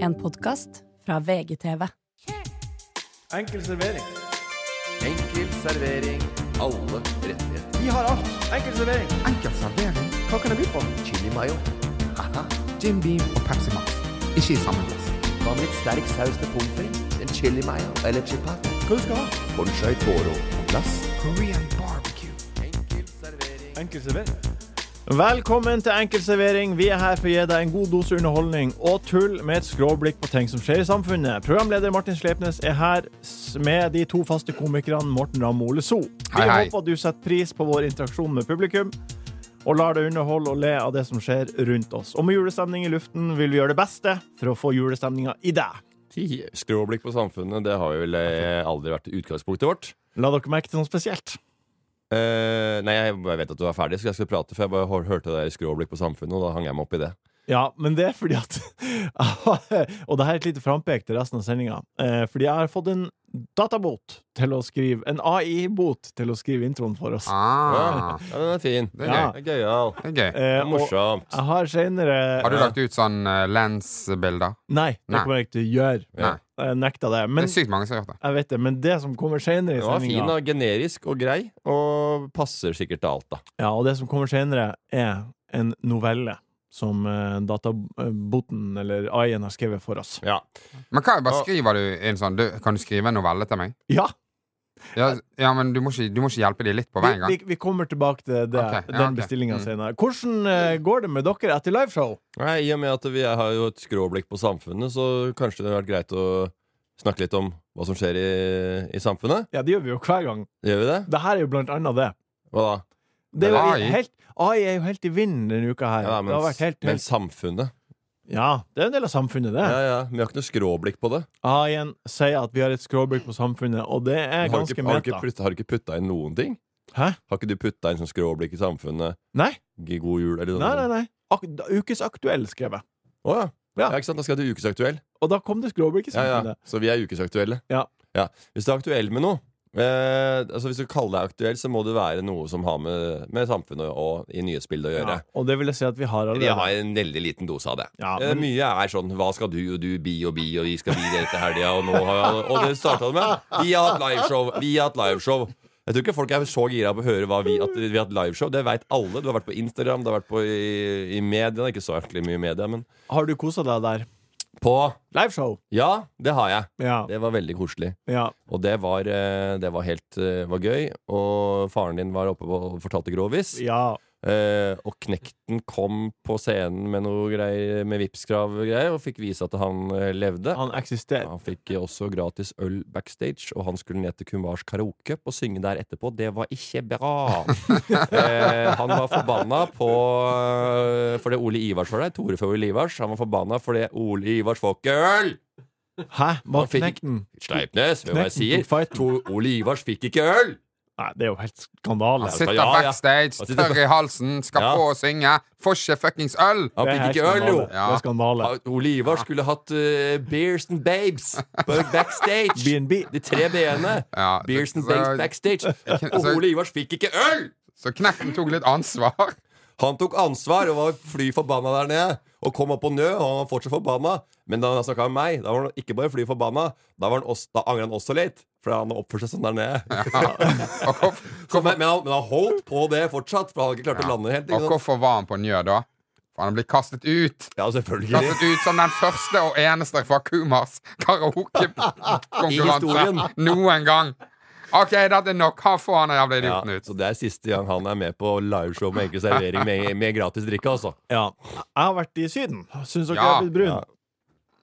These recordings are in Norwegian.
En podkast fra VGTV. Enkel servering. Enkel servering. Alle rettigheter. Vi har alt. Enkel servering. Enkel servering, Hva kan jeg by på? Chili mayo. Haha. Jim Beam og Pepsi Max. Ikke i samme glass. Hva med litt sterk saus til pommes frites? En chili mayo eller chipat? Hva du skal ha? Bonchai toro på glass. Korean barbecue. Enkel servering. Enkel servering. Velkommen til Enkel servering. Vi er her for å gi deg en god dose underholdning og tull med et skråblikk på ting som skjer i samfunnet. Programleder Martin Sleipnes er her s- med de to faste komikerne Morten Ramm og Ole So. Vi Hei, hei. håper du setter pris på vår interaksjon med publikum. Og lar deg underholde og le av det som skjer rundt oss. Og med julestemning i luften vil vi gjøre det beste for å få julestemninga i deg. Ti skråblikk på samfunnet, det har vel eh, aldri vært utgangspunktet vårt. La dere merke til noe spesielt. Eh, nei, jeg bare vet at du er ferdig, så jeg skal prate, for jeg bare hør- hørte det der skråblikk på samfunnet, og da hang jeg meg opp i det. Ja, men det er fordi at Og det her er et lite frampek til resten av sendinga. Eh, fordi jeg har fått en databot til å skrive En AI-bot til å skrive introen for oss. Ja, Ah, ja, den er fin. Det er Ja. Det er Gøyal. det er gøy. Eh, Det er og jeg Morsomt. har seinere Eh, Har du lagt ut sånn uh, lens-bilder? Eh, Nei, det Nei. kommer jeg ikke til å gjøre. Eh, Nei. Jeg nekta det. Det Men, er sykt mange som har gjort det. jeg vet det, men det som kommer seinere i Den var fin sendinga, og generisk og grei, og passer sikkert til alt, da. ja, og det som kommer senere, er en novelle som eh, databoten, eller AI-en, har skrevet for oss. Ja. Men hva bare Og- skriver du en sånn du, Kan du skrive en novelle til meg? Ja! Ja, Eh, ja men du må, ikke, du må ikke hjelpe de litt på Vi, hver gang. vi, vi kommer tilbake til det, Ok, ja, den ok. bestillinga Mm. senere. Hvordan eh, går det med dere etter liveshow? Nei, I og med at vi har jo et skråblikk på samfunnet, så kanskje det hadde vært greit å snakke litt om hva som skjer i, i samfunnet. Ja, det gjør vi jo hver gang. Gjør vi det? Det her er jo blant annet det. Hva da? det er jo AI. Helt, AI er jo helt i vinden denne uka her. Ja, det har men, vært helt, men helt samfunnet Ja, det er en del av samfunnet, det. Ja, ja, men vi har ikke noe skråblikk på det. AI-en sier at vi har et skråblikk på samfunnet, og det er Har du ganske ikke, har meta. du ikke, putt- har du ikke putta inn noen ting? Hæ? Har ikke du putta inn sånn skråblikk i samfunnet? Nei. Gi God jul, eller noe Nei, nei, nei. Ak ukesaktuell skrev jeg. Å ja. Ja. ja. ikke sant? Da skal du ukesaktuell. Og da kom det skråblikk i Ja, ja. samfunnet. Så vi er ukesaktuelle. Ja. Hvis du er aktuell med noe eh, altså Hvis du kaller deg aktuell, så må det være noe som har med, med samfunnet og i nyhetsbildet å gjøre. Ja, og det vil jeg si at vi har Vi allerede. har en veldig liten dose av det. Ja, Eh, men- Mye er sånn 'hva skal du og du bi og bi', og 'vi skal bi det etter helga', og nå har jeg, Og det starta det med. Vi har hatt liveshow. Vi har hatt liveshow. Jeg tror ikke folk er så gira på å høre hva vi, at vi har hatt liveshow. Det veit alle. Du har vært på Instagram, du har vært på i, i media. Ikke så ordentlig mye i media, men Har du kosa deg der? på Liveshow! Ja, det har jeg. Ja. Det var veldig koselig. ja. Og det var, eh, det var helt eh, var gøy. Og faren din var oppe og fortalte grovis. ja. Eh, og Knekten kom på scenen med noe greier Med Vipps-krav og greier, og fikk vise at han eh, levde. Han eksisterer. Han fikk eh, også gratis øl backstage, og han skulle ned til Kumars karaokecup og synge der etterpå. Det var ikke bra! eh, han var forbanna på eh, fordi Ole Ivars var der. Tore Føhl Ivars. Han var forbanna fordi Ole Ivars får ikke øl! Hæ? Hva Han fikk- knekten? Sleipnes, hør hva jeg Knekten tok sier. fighten. To, Ole Ivars fikk ikke øl! Nei, det er jo helt skandale. altså. Han sitter Ja, ja. Han backstage, sitter- tørr i halsen, skal Ja. på å synge, får ikke fuckings øl! Han Det er fikk helt ikke øl, jo! skandale. Det er skandale. Ja, Ole Ivar skulle hatt eh, Beers and Babes på backstage. B&B. De tre b-ene. Ja, Beers and så- Babes backstage. Og så- Ole Ivars fikk ikke øl! Så Knekten tok litt ansvar. Han tok ansvar og var fly forbanna der nede. Og kom opp på Nø, og han var fortsatt forbanna. Men da han snakka med meg, da var han ikke bare fly forbanna, da, var han også, da angra han også litt. For han oppførte seg sånn der nede. Og, hvorf Så, men, men, han, men han holdt på det fortsatt, for han hadde ikke klart å lande helt. og Ikke sant? hvorfor var han på Njø da? For han blir kastet ut. Ja, selvfølgelig. Kastet ut som den første og eneste fra Kumars I historien. karaokekonkurranse noen gang. OK, dette er nok. Ha få han jævla Ja, idioten ut. så det er siste gang han er med på liveshow med enkel servering med, med gratis drikke, altså. Ja. Jeg har vært i Syden. Syns dere jeg Ja. har blitt brun?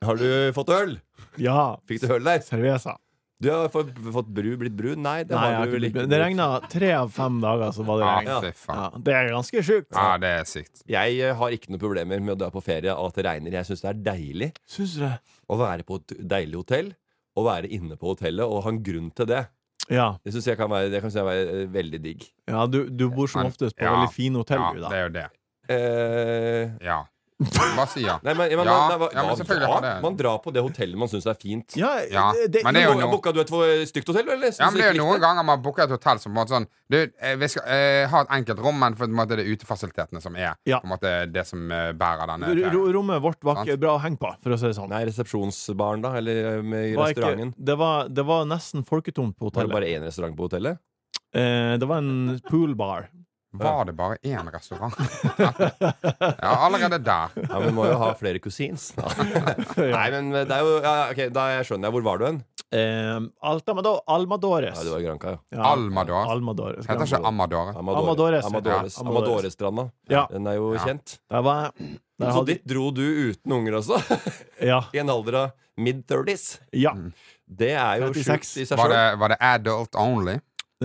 Har du fått øl? Ja. Fikk du øl der? Cerveza. Du har fått, fått bru, blitt brun? Nei, det Nei, jeg har har du ikke vel ikke. blitt brun. Det regna tre av fem dager, så var det regn. Ja, fy faen. Ja, det er ganske sjukt. Ja, det er sykt. Jeg eh, har ikke noen problemer med å dra på ferie og at det regner. Jeg syns det er deilig Syns du det? å være på et deilig hotell. Å være inne på hotellet og ha en grunn til det. Ja. Det syns jeg kan være, det kan synes jeg være eh, veldig digg. ja du, du bor som Men- oftest på ja. veldig fine hotell, Ja, du, det da. er jo det. Eh, Ja. Hva sier jeg? Nei, men, men, ja, man, nei, hva- ja, men hva- selvfølgelig har det. Man drar på det hotellet man syns er fint. Ja, Ja, det, men det er jo Bo- noe- Booka du et for stygt hotell, eller? Ja, Synes men du det er ikke jo likte Noen ganger man booker et hotell som på en måte sånn Du, eh, vi skal eh, ha et enkelt rom, men for på en måte det er utefasilitetene som er Ja. På en måte det som eh, bærer denne r- ferien. r- rommet vårt var ikke bra å henge på, for å si det sånn. Nei, resepsjonsbaren, da? Eller eh, med i Var ikke, restauranten? det, var, det var nesten folketomt på Var hotellet. det bare én restaurant på hotellet? Eh, det var en poolbar. Var det bare én restaurant? ja, allerede der. Ja, men må jo ha flere kusins. Nei, men det er jo ja, Ok, da skjønner jeg. Hvor var du hen? Eh, Altamado- Almadores. Ja, du var i Granca, ja. Ja, Almador. Almadores. Heter ikke Amador. Amadores. Amadores. Amadores. Ja, Amadores. Amadorestranda. Ja. Den er jo Ja. kjent. Der var jeg. Der Så hadde, dit dro du uten unger også? ja, I en alder av mid-30s? ja. Mm. Det er jo 36. sjukt i seg sjøl. Var det, var det adult only?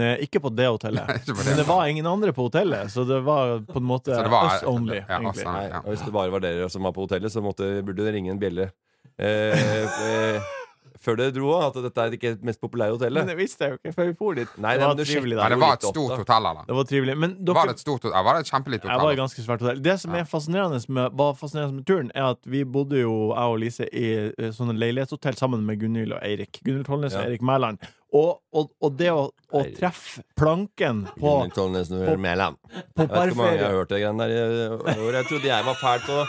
Eh, Ikke på det hotellet. Ikke på det. Men det var ingen andre på hotellet, så det var på en måte Så det var- us only. ja, altså, egentlig. us only. Nei, Ja. og Hvis det bare var dere som var på hotellet, så måtte, burde det ringe en bjelle. Eh, eh, før dere dro òg, at dette er ikke det mest populære Men hotellet. det visste jeg jo ikke før vi for dit. Nei, det nei, var men du trivelig sjekket- Nei, der. det jo var et litt stort opp, da. hotell, eller? Det var trivelig. Men Var dere det et stort hotell? Var det et kjempelite Jeg var i hotell? da? ganske svært hotell. Det som er fascinerende med, var fascinerende med turen, er at vi bodde jo, jeg og Lise, i eh, sånne leilighetshotell sammen med Gunhild og Eirik. Gunhild Tollnes Ja. og Eirik Mæland. Og, og, og det å, å Eirik. treffe planken på, Gunhild Tollnes når du hører Mæland. på Jeg vet ikke hvor mange jeg barferie har hørt det greiene der i år. Jeg trodde jeg var fæl til å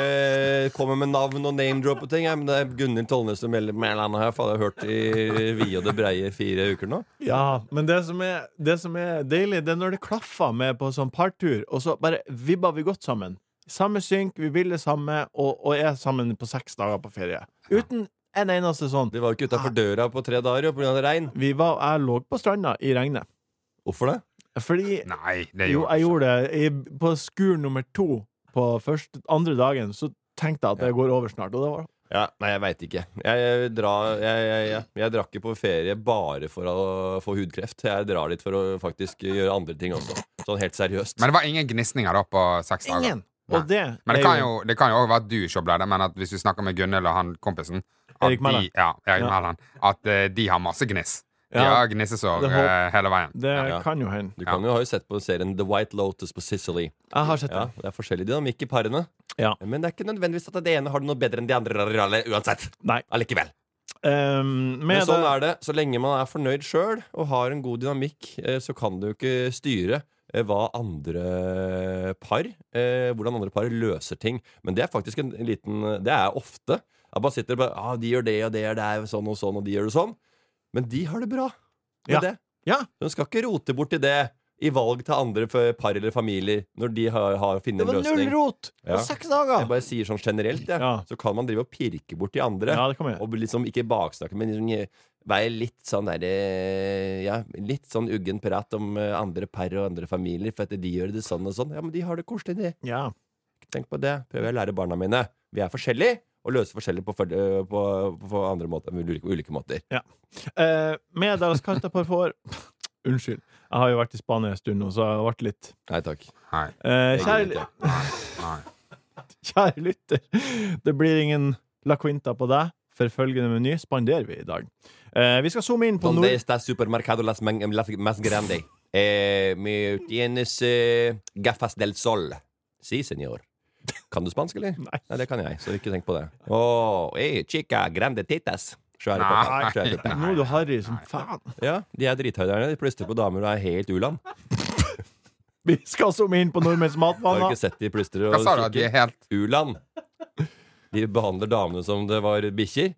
eh, komme med navn og name-drop og ting. jeg, Men det er Gunhild Tollnes og Mæl- Mæland har jeg faen hørt i vide og det breie i fire uker nå. Ja, men det som, er, det som er deilig, det er når det klaffer med på sånn partur, og så bare vibber vi godt sammen. Samme synk, vi vil det samme, og, og er sammen på seks dager på ferie. Uten en eneste sånn. De var jo ikke utafor døra på tre dager jo, pga. regn. Vi var, jeg lå på stranda i regnet. Hvorfor det? Fordi Nei, det Jo, gjorde jeg gjorde det. I, på skur nummer to, på første, andre dagen, så tenkte jeg at det går over snart. Og det var Ja, nei, jeg veit ikke. Jeg, jeg, drar- jeg, jeg, jeg, jeg drar ikke på ferie bare for å få hudkreft. Jeg drar dit for å faktisk gjøre andre ting også. Sånn helt seriøst. Men det var ingen gnisninger da på seks dager? ingen! Og det, Men det er kan jo, det kan jo også være at du ikke ble det, men at hvis du snakker med Gunnhild og han kompisen at Erik Mæland. De, ja, Erik Ja. Mæland. At eh, de har masse gniss. De Ja. har gnissesår Det håp- eh, hele veien. Det ja. kan jo hende. Du kan jo, har jo sett på serien The White Lotus på Sicily. Jeg har sett Ja, det. Det er forskjellig dynamikk i parene. Ja. Men det er ikke nødvendigvis at det ene har det noe bedre enn de andre alle- uansett. Nei. Allikevel. Ehm, Men med sånn det, er det. Så lenge man er fornøyd sjøl og har en god dynamikk, eh, så kan du ikke styre eh, hva andre par eh, Hvordan andre par løser ting. Men det er faktisk en en liten eh, Det er ofte. At man sitter og bare ah, 'De gjør det og det og det er sånn og sånn, og de gjør det sånn.' Men de har det bra med Ja. det. Ja. De skal ikke rote borti det i valg til andre f- par eller familier når de har, har funnet det en var null løsning. rot! Det Ja. var seks dager! Jeg bare sier sånn generelt, jeg. Ja. Så kan man drive og pirke bort de andre. Ja, det kan vi gjøre. Og liksom ikke baksnakke, men liksom eh, være litt sånn der eh, Ja, litt sånn uggen prat om eh, andre par og andre familier, for at de gjør det sånn og sånn. Ja, men de har det koselig, de. Ja. Tenk på det. Prøver jeg å lære barna mine. Vi er forskjellige, og løser forskjellig på, for- eh, på, på andre måter, ulike, ulike måter. Eh, med deres karta på for Unnskyld. Jeg har jo vært i Spania en stund nå, så jeg har vært litt Nei takk. Nei. Eh, Jeg gidder kjære, ikke. Nei. kjære lytter, det blir ingen La Quinta på deg, for følgende meny spanderer vi i dag. Eh, vi skal zoome inn på Donde nord... está supermercado las man- las más grande? Eh, me tienes eh, gafas del sol. Si, señor. Kan du spansk, eller? Nei. Nei, det kan jeg, så ikke tenk på det. Oh, hey, chica, grande titas. Svære Nei. pappa, svære pupper. Nå er du harry som faen. Ja, de er drithøyderne. De plystrer på damer og er helt u-land. Vi skal zoome inn på nordmenns Har du matvaner. ikke sett de plystrer Hva og sa du? At de er kikker? helt U-land. De behandler damene som det var bikkjer.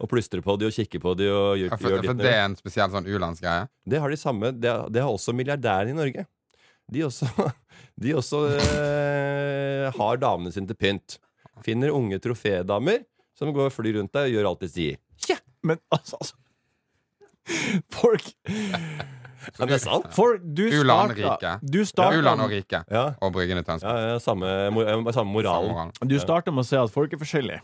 Og plystrer på de og kikker på de og gjør, Ja, for, gjør for ditt det er en spesiell sånn u-landsgreie? Det har de samme Det, har- det har også milliardærene i Norge. De også, de også eh, har damene sine til pynt. Finner unge trofédamer som går og flyr rundt deg og gjør alt de sier. Men altså, altså Folk, Men det er sant. folk Du U-land starta rike. Du U-land og starta, rike. Ja, Og Bryggen i Tønsberg. ja, ja samme, mor- eh, samme Samme moralen. moral. du starta med å si at folk er forskjellige.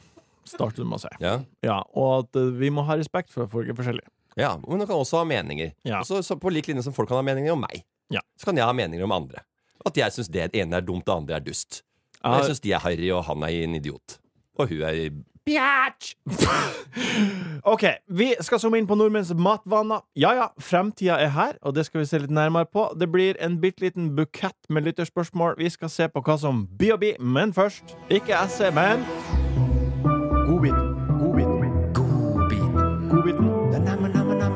Starter du med å si. Ja. Ja, og at eh, vi må ha respekt for at folk er forskjellige. ja, Men man kan også ha meninger. Ja. Også, så på lik linje som folk kan ha meninger om meg, Ja. så kan jeg ha meninger om andre. At jeg syns det ene er dumt, det andre er dust. Jeg har- Jeg syns de er harry, og han er en idiot. Og hun er Ok, Vi skal zoome inn på nordmenns matvaner. Ja ja, fremtida er her, og det skal vi se litt nærmere på. Det blir en bitte liten bukett med lytterspørsmål. Vi skal se på hva som by og by, men først ikke SE, men Godbiten. Godbiten. Godbiten.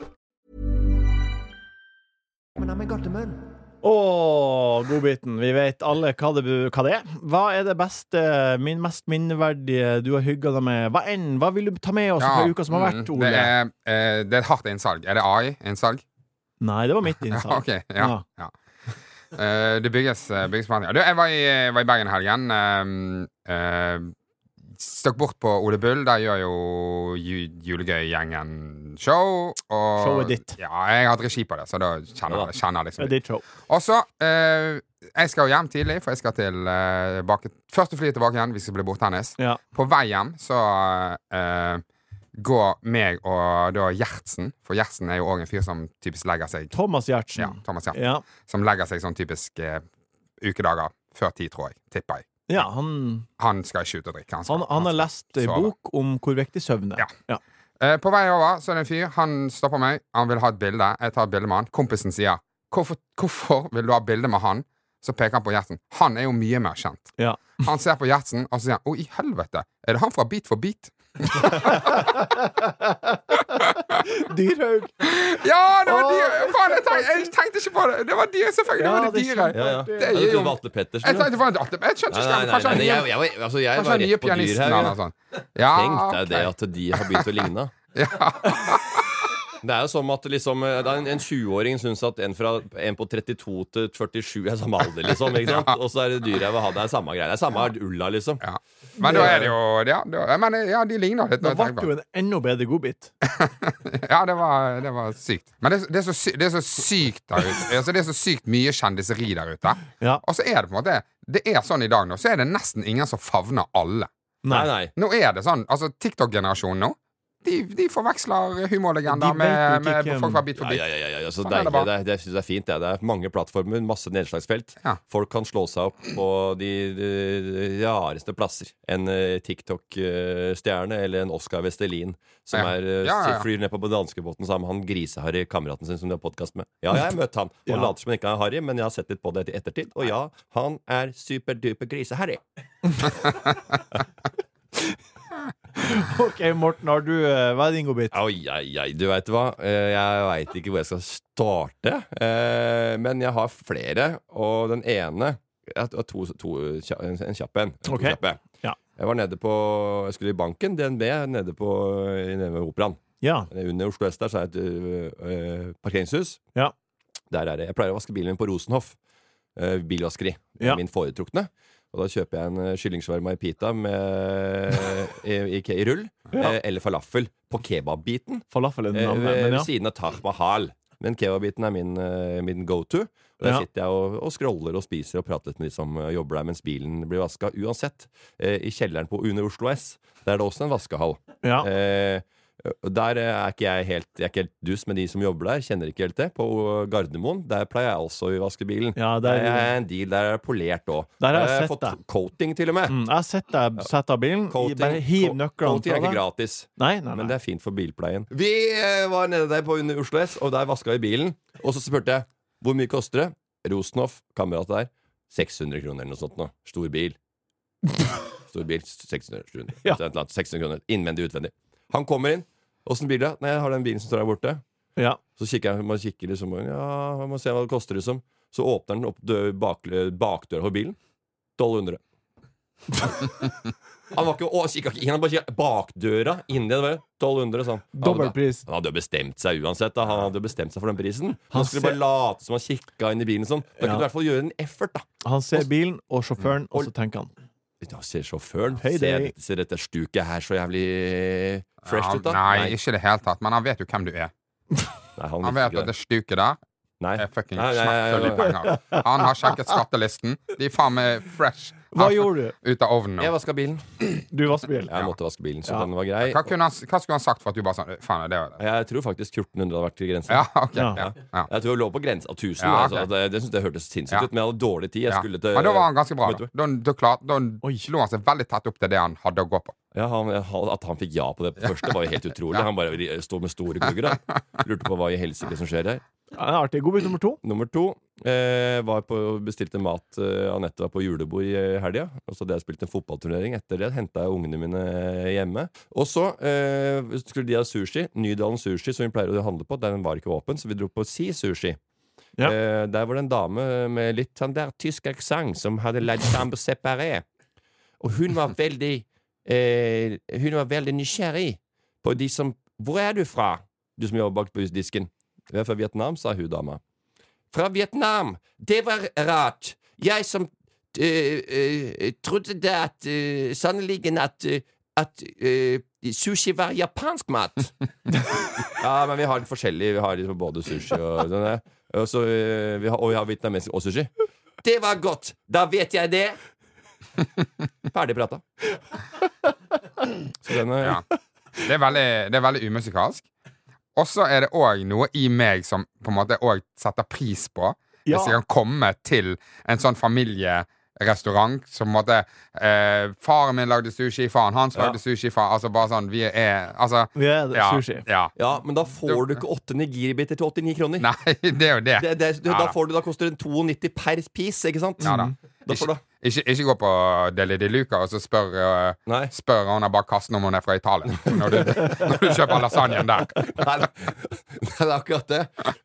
Å, godbiten. Vi vet alle hva det, hva det er. Hva er det beste, min mest minneverdige du har hygga deg med? Hva enn? Hva vil du ta med oss fra Altså, uka som har vært, mm, Ole? Det er, eh, det er et hardt innsalg. Er det AI-innsalg? Nei, det var mitt innsalg. Ja, ok, ja, Ja. ja. Eh, det bygges, eh, bygges på handlinger. Du, jeg var i, jeg var i Bergen i helgen. ehm, eh, stakk bort på Ole Bull. Der gjør jo ju, Julegøy-gjengen show. Og, Showet ditt. Ja, jeg har hatt regi på det, så da Ja kjenner, da. jeg- kjenner jeg liksom Det er ditt show. og så eh, Jeg skal jo hjem tidlig, for jeg skal til eh, bak, Første flyet tilbake igjen. Vi skal bli borthennes. Ja. På vei hjem så eh, går meg og da Gjertsen For Gjertsen er jo òg en fyr som typisk legger seg Thomas Giertsen. Ja, Thomas Gjertsen. Ja. Som legger seg sånn typisk eh, ukedager før ti, tror jeg. Tipper jeg. Ja, han, Han skal ikke ut og drikke. skal- han, han har skal lest ei sove. bok om hvor viktig søvn er. Ja. Eh, på vei over så er det en fyr. Han stopper meg. Han vil ha et bilde. Jeg tar et bilde med han. Kompisen sier hvorfor, 'Hvorfor vil du ha bilde med han?' Så peker han på Gjertsen. Han er jo mye mer kjent. Ja. Han ser på Gjertsen, og så sier han 'Å, i helvete, er det han fra Beat for beat?' Dyrhaug! Ja, det var Å, dyret! Faen, jeg, tenk, jeg tenkte ikke på det! Det var dyret, selvfølgelig. Ja, det var det det er dyret. kjempe- Ja, ja. Det Jeg er trodde jo- det var Atle Jeg Pettersen. jo. tenkte på det. Jeg skjønte Nei, ikke nei, nei, Kanskje han nei, er jeg, jeg, var- altså, jeg kanskje var han er nye rett på dyr pianisten her. han ja. og sånn. Ja, Tenk deg ok. det altså. at de har begynt å ligne. Det er jo som at liksom, eh, da en, en 20-åring syns at en, fra, en på 32 til 47 er samme alder, liksom. Ikke sant? Og så er det dyret jeg vil ha, det er samme greia. Det er samme ulla, liksom. Ja. Men da er det jo ja, da, men, ja, de ligner litt. Da når jeg ble tenker på det jo en enda bedre godbit. Ja, det var, det var sykt. Men det, det, er så sy det er så sykt der ute. Altså, det er så sykt mye kjendiseri der ute. Ja. Og så er det på en måte Det er sånn i dag nå, så er det nesten ingen som favner alle. Nei, nei. Nå er det sånn, altså TikTok-generasjonen nå De, de forveksler humorlegender De vet jo med, ikke med hvem- folk fra Bit for Ja, bit. ja, ja, ja, ja. Så Sånn er det deilig. bare. Det, er- det synes jeg er fint. Det. det er mange plattformer, masse nedslagsfelt. Ja. Folk kan slå seg opp på de, de rareste plasser. En eh, TikTok-stjerne eller en Oscar Vestelin som Ja. er, eh, Ja, ja, ja. flyr ned på danskebåten sammen med han griseharry kameraten sin som de har podkast med. Ja, jeg har møtt han. Og Ja. later som han ikke er harry, men jeg har sett litt på det i ettertid. Og ja, han er superduper griseharry. OK, Morten, har du, eh, hva er din godbit? Oi, oi, oi, du veit hva. Eh, Jeg veit ikke hvor jeg skal starte. eh, Men jeg har flere, og den ene jeg har to, to, kja- En kjapp en. To Ok. kjappe. Ja. Jeg var nede på Jeg skulle i banken, DNB, nede på nede ved Operaen. Ja. Under Oslo S der så er det et ø, ø, parkeringshus. Ja. Der er det. Jeg pleier å vaske bilen min på Rosenhoff. ø, bilvaskeri. Det er Ja. min foretrukne. Og da kjøper jeg en ø, kyllingsvarma i pita med, i, i, i rull. Ja. eh, eller falafel på kebabbiten. Falafel er den eh, andre. ved, Men ved ja. siden av Taj Mahal. Men kebabbiten er min, eh, min go to. Og der Ja. sitter jeg og, og scroller og spiser og prater litt med de som eh, jobber der mens bilen blir vaska. Uansett. eh, I kjelleren på UNE Oslo S. Der er det også en vaskehall. Ja. Eh, der eh, er ikke jeg helt, jeg er ikke helt dus med de som jobber der. Kjenner ikke helt det. På eh, Gardermoen der pleier jeg også å vaske bilen. Ja, der- der, er en deal der er det polert òg. Der har jeg har sett fått det. coating, til og med. Mm, jeg har sett deg sette av bilen. Coating, Bare hiv co- nøklene coating er ikke fra deg. gratis. Nei, nei, Men nei. det er fint for bilpleien. Vi eh, var nede der på under Oslo S, og der vaska vi bilen. Og så spurte jeg hvor mye koster det. Rosenhoff, kamerat der, 600 kroner eller noe sånt. Nå. Stor bil. Stor bil, 600, 700, Ja. et eller annet, 600 kroner. Innvendig, utvendig. Han kommer inn. Åssen bil er det? Nei, jeg har den bilen som står der borte. Ja. Så kikker jeg, man kikker liksom Ja, man må se hva det koster liksom Så åpner den opp dø- bakle- bakdøra på bilen 1200 Han var ikke, å, kikka ikke inn, han bare kikka bakdøra inni. Det var jo 1200, sånn. Dobbeltpris. Han hadde jo bestemt seg uansett. Da. Han hadde jo bestemt seg for den prisen. Han Han skulle ser- bare late som han kikka inn i bilen sånn. Da Ja. kunne du i hvert fall gjøre en effort, da. Han ser bilen og Mm. sjåføren, og så tenker han Da ser sjåføren Hei, ser, Dave. ser dette stuket her så jævlig fresh Ja, ut, da? Ah, Nei, ikke i det hele tatt. Men han vet jo hvem du er. Nei, han Han visste vet ikke at det stuket der Nei. er fucking Nei, nei, nei, smekkfulle nei. penger. Han har sjekket skattelisten. De er faen meg fresh Hva gjorde du? ut av ovnen. Jeg nå. vaska bilen. Du vasker bil. Jeg måtte vaske bilen, så Ja. den var grei. Hva, kunne han, hva skulle han sagt for at du bare sånn Faen, det var det. Jeg tror faktisk 1400 hadde vært til grensen. Ja, ok. Ja. Ja. Ja. Jeg tror jeg lå på grensa av 1000. Ja, altså, ok. at det, det, synes jeg hørtes sinnssykt Ja. ut, men jeg hadde dårlig tid. Jeg Ja. skulle til Men da var han ganske bra. Vet du Da, hva? da, da, klarte- da Oi. lå han seg veldig tett opp til det han hadde å gå på. Ja, han, han- at han fikk ja på det første, var jo helt utrolig. Han bare ri- står med store glugger. da. Lurte på hva i helsike som skjer her. Ja, det er artig. Godbit nummer to. Nummer to eh, var på, bestilte mat. Eh, Anette var på julebord i eh, helga. Og så hadde jeg spilt en fotballturnering. Etter det henta jeg ungene mine eh, hjemme. Og så eh, skulle de ha sushi. Nydalen Sushi, som vi pleier å handle på, den var ikke åpen, så vi dro på Si Sushi. Ja. Eh, der var det en dame med litt sånn der tysk aksent som hadde ledd sammen separé. Og hun var veldig eh, Hun var veldig nysgjerrig på de som Hvor er du fra? Du som jobber bak på disken. Vi er fra Vietnam, sa hun dama. Fra Vietnam! Det var rart. Jeg som eh, eh, trodde det at eh, Sannelig at, eh, at eh, sushi var japansk mat. ja, men vi har litt forskjellig. Vi har liksom både sushi og sånn der. Og, så, eh, vi har, og vi har vietnamesisk og sushi. Det var godt! Da vet jeg det! Ferdig prata. Så den er Ja. Det er veldig, det er veldig umusikalsk. Og så er det òg noe i meg som på en måte òg setter pris på. Ja. Hvis jeg kan komme til en sånn familierestaurant som på en måte eh, Faren min lagde sushi, faren hans Ja. lagde sushi, faren Altså bare sånn Vi er Altså. Vi er Ja, sushi. ja. Ja, men da får du ikke åtte nigiribiter til 89 kroner. Nei, det er jo det. Det, det, du, Ja da, da. får du, da koster det 92 per piece, ikke sant? Ja da. Da får du Ikke, ikke gå på Deli de Luca og så spør, eh, Nei. spør hun bak kassen om hun er fra Italia. Når du, når du kjøper lasagnen der. Nei, det det er akkurat det.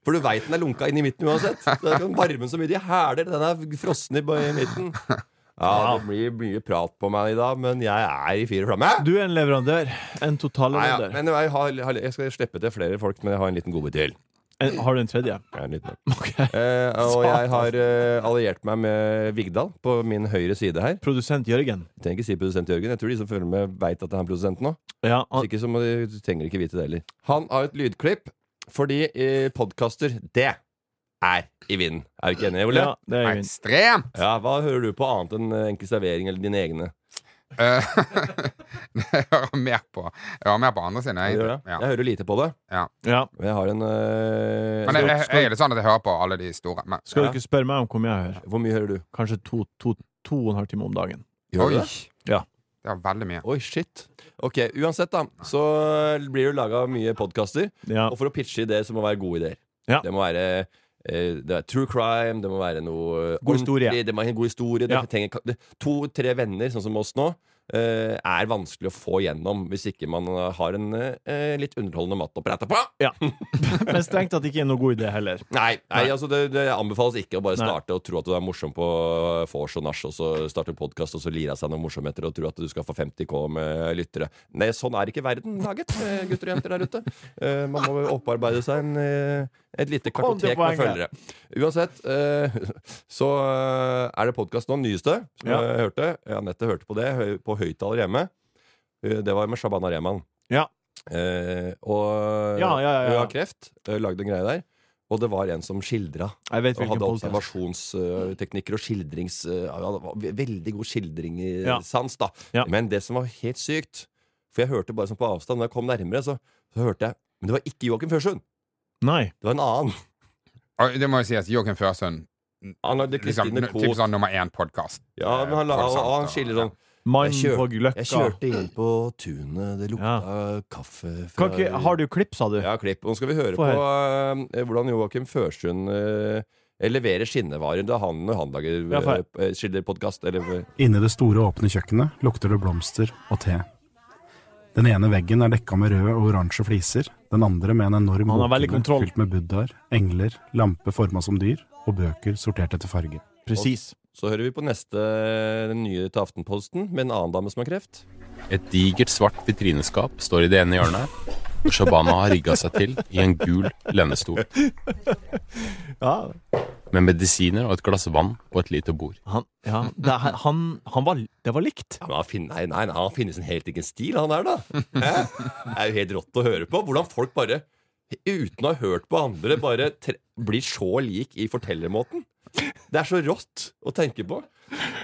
For du veit den er lunka inn i midten uansett. Så Det er ikke varmen så mye de hæler. Den er frossen i i midten. Ja, det blir mye prat på meg i dag, men jeg er i fire flamme. Du er en leverandør. En Nei, ja. totalleverandør. Men jeg, har, har- jeg skal slippe til flere folk, men jeg har en liten godbit til. En- Har du en tredje? Jeg har en liten. Ok. Eh, og jeg har eh, alliert meg med Vigdal på min høyre side her. Produsent Jørgen. Jeg trenger ikke si produsent Jørgen. Jeg tror de som følger med, veit at det er han produsenten nå. Ja, han, Hvis ikke så må de, du trenger ikke vite det heller. Ah. Han har et lydklipp, fordi eh, podkaster, det er i vinden. Er du ikke enig, Ole? ja, det er Jørgen. Ekstremt! Ja, Hva hører du på annet enn eh, enkel servering eller dine egne? Eh, jeg hører mer på Jeg hører mer på andre sine, Jeg, egentlig. jeg Ja. hører lite på det. Ja. Men jeg har en eh, Men jeg, jeg, jeg er litt sånn at jeg hører på alle de store. Men Skal du ikke spørre meg om hvor mye jeg hører? Hvor mye hører du? Kanskje to, to, to og en halv time om dagen. Gjør du oi, det? det er veldig mye. Oi, shit. Ok, Uansett, da, så eh, blir det laga mye podkaster. Ja. Og for å pitche ideer, så må det være gode ideer. Ja. Det må være eh, det er true crime, det må være noe eh, God historie. ordentlig, Det må være en god historie. Ja. Det trenger, det, To-tre venner, sånn som oss nå, eh, er vanskelig å få gjennom hvis ikke man har en eh, litt underholdende mat å prate på. Ja. Men strengt tatt ikke er noen god idé heller. Nei, nei, altså det, det anbefales ikke å bare Nei. starte og tro at du er morsom på vors og nach, og så starte en podkast og så lire av seg noen morsomheter og tro at du skal få 50K med lyttere. Nei, sånn er ikke verden laget, eh, gutter og jenter der ute. Eh, Man må opparbeide seg en, eh, et lite Kom til kartotek med følgere. poenget. Uansett, eh, så eh, er det podkast nå, nyeste, som Ja. jeg hørte. Anette hørte på det hø- på høyttaler hjemme. Eh, Det var med Shabana Rehman. Ja. Eh, og Ja, ja, ja, ja. hun har kreft. eh, Lagde en greie der. Og det var en som skildra. Jeg vet Og hvilken hadde podcast. observasjonsteknikker og skildrings... eh, ja, det var ve- veldig god Ja. skildringssans, da. Ja. Men det som var helt sykt For jeg hørte bare sånn på avstand, når jeg kom nærmere, så, så hørte jeg Men det var ikke Joakim Førsund! Nei. Det var en annen. Og det må jo sies, Joakim Førsund Han lagde liksom, Kristine typ Koht. sånn nummer én-podkast. Ja, men han, la- han, han skiller sånn Mannen kjør- på Jeg Løkka. kjørte inn på tunet, det lukta kaffe fra Kan ikke, har du klipp, sa du? Ja, klipp. Nå skal vi høre Få på eh, hvordan Joakim Førsund eh, leverer skinnevarer. Det er han når han lager Ja, få uh, skilderpodkast. Eller eh, Inne i det store åpne kjøkkenet lukter det blomster og te. Den ene veggen er dekka med røde og oransje fliser, den andre med en enorm Han har veldig kontroll. fylt med buddhaer, engler, lampe forma som dyr og bøker sortert etter farge. Presis. Så hører vi på neste eh, den nye til Aftenposten med en annen dame som har kreft. Et digert svart vitrineskap står i det ene hjørnet, og Shabana har rigga seg til i en gul lenestol Ja, med medisiner og et glass vann på et lite bord. han, ja det, er- han, han var, det var likt. Ja, men han finner, nei, nei, nei, han finner sin helt egen stil, han der, da. Hæ? Det er jo helt rått å høre på. Hvordan folk bare, uten å ha hørt på andre, bare tre blir så lik i fortellermåten. Det er så rått å tenke på.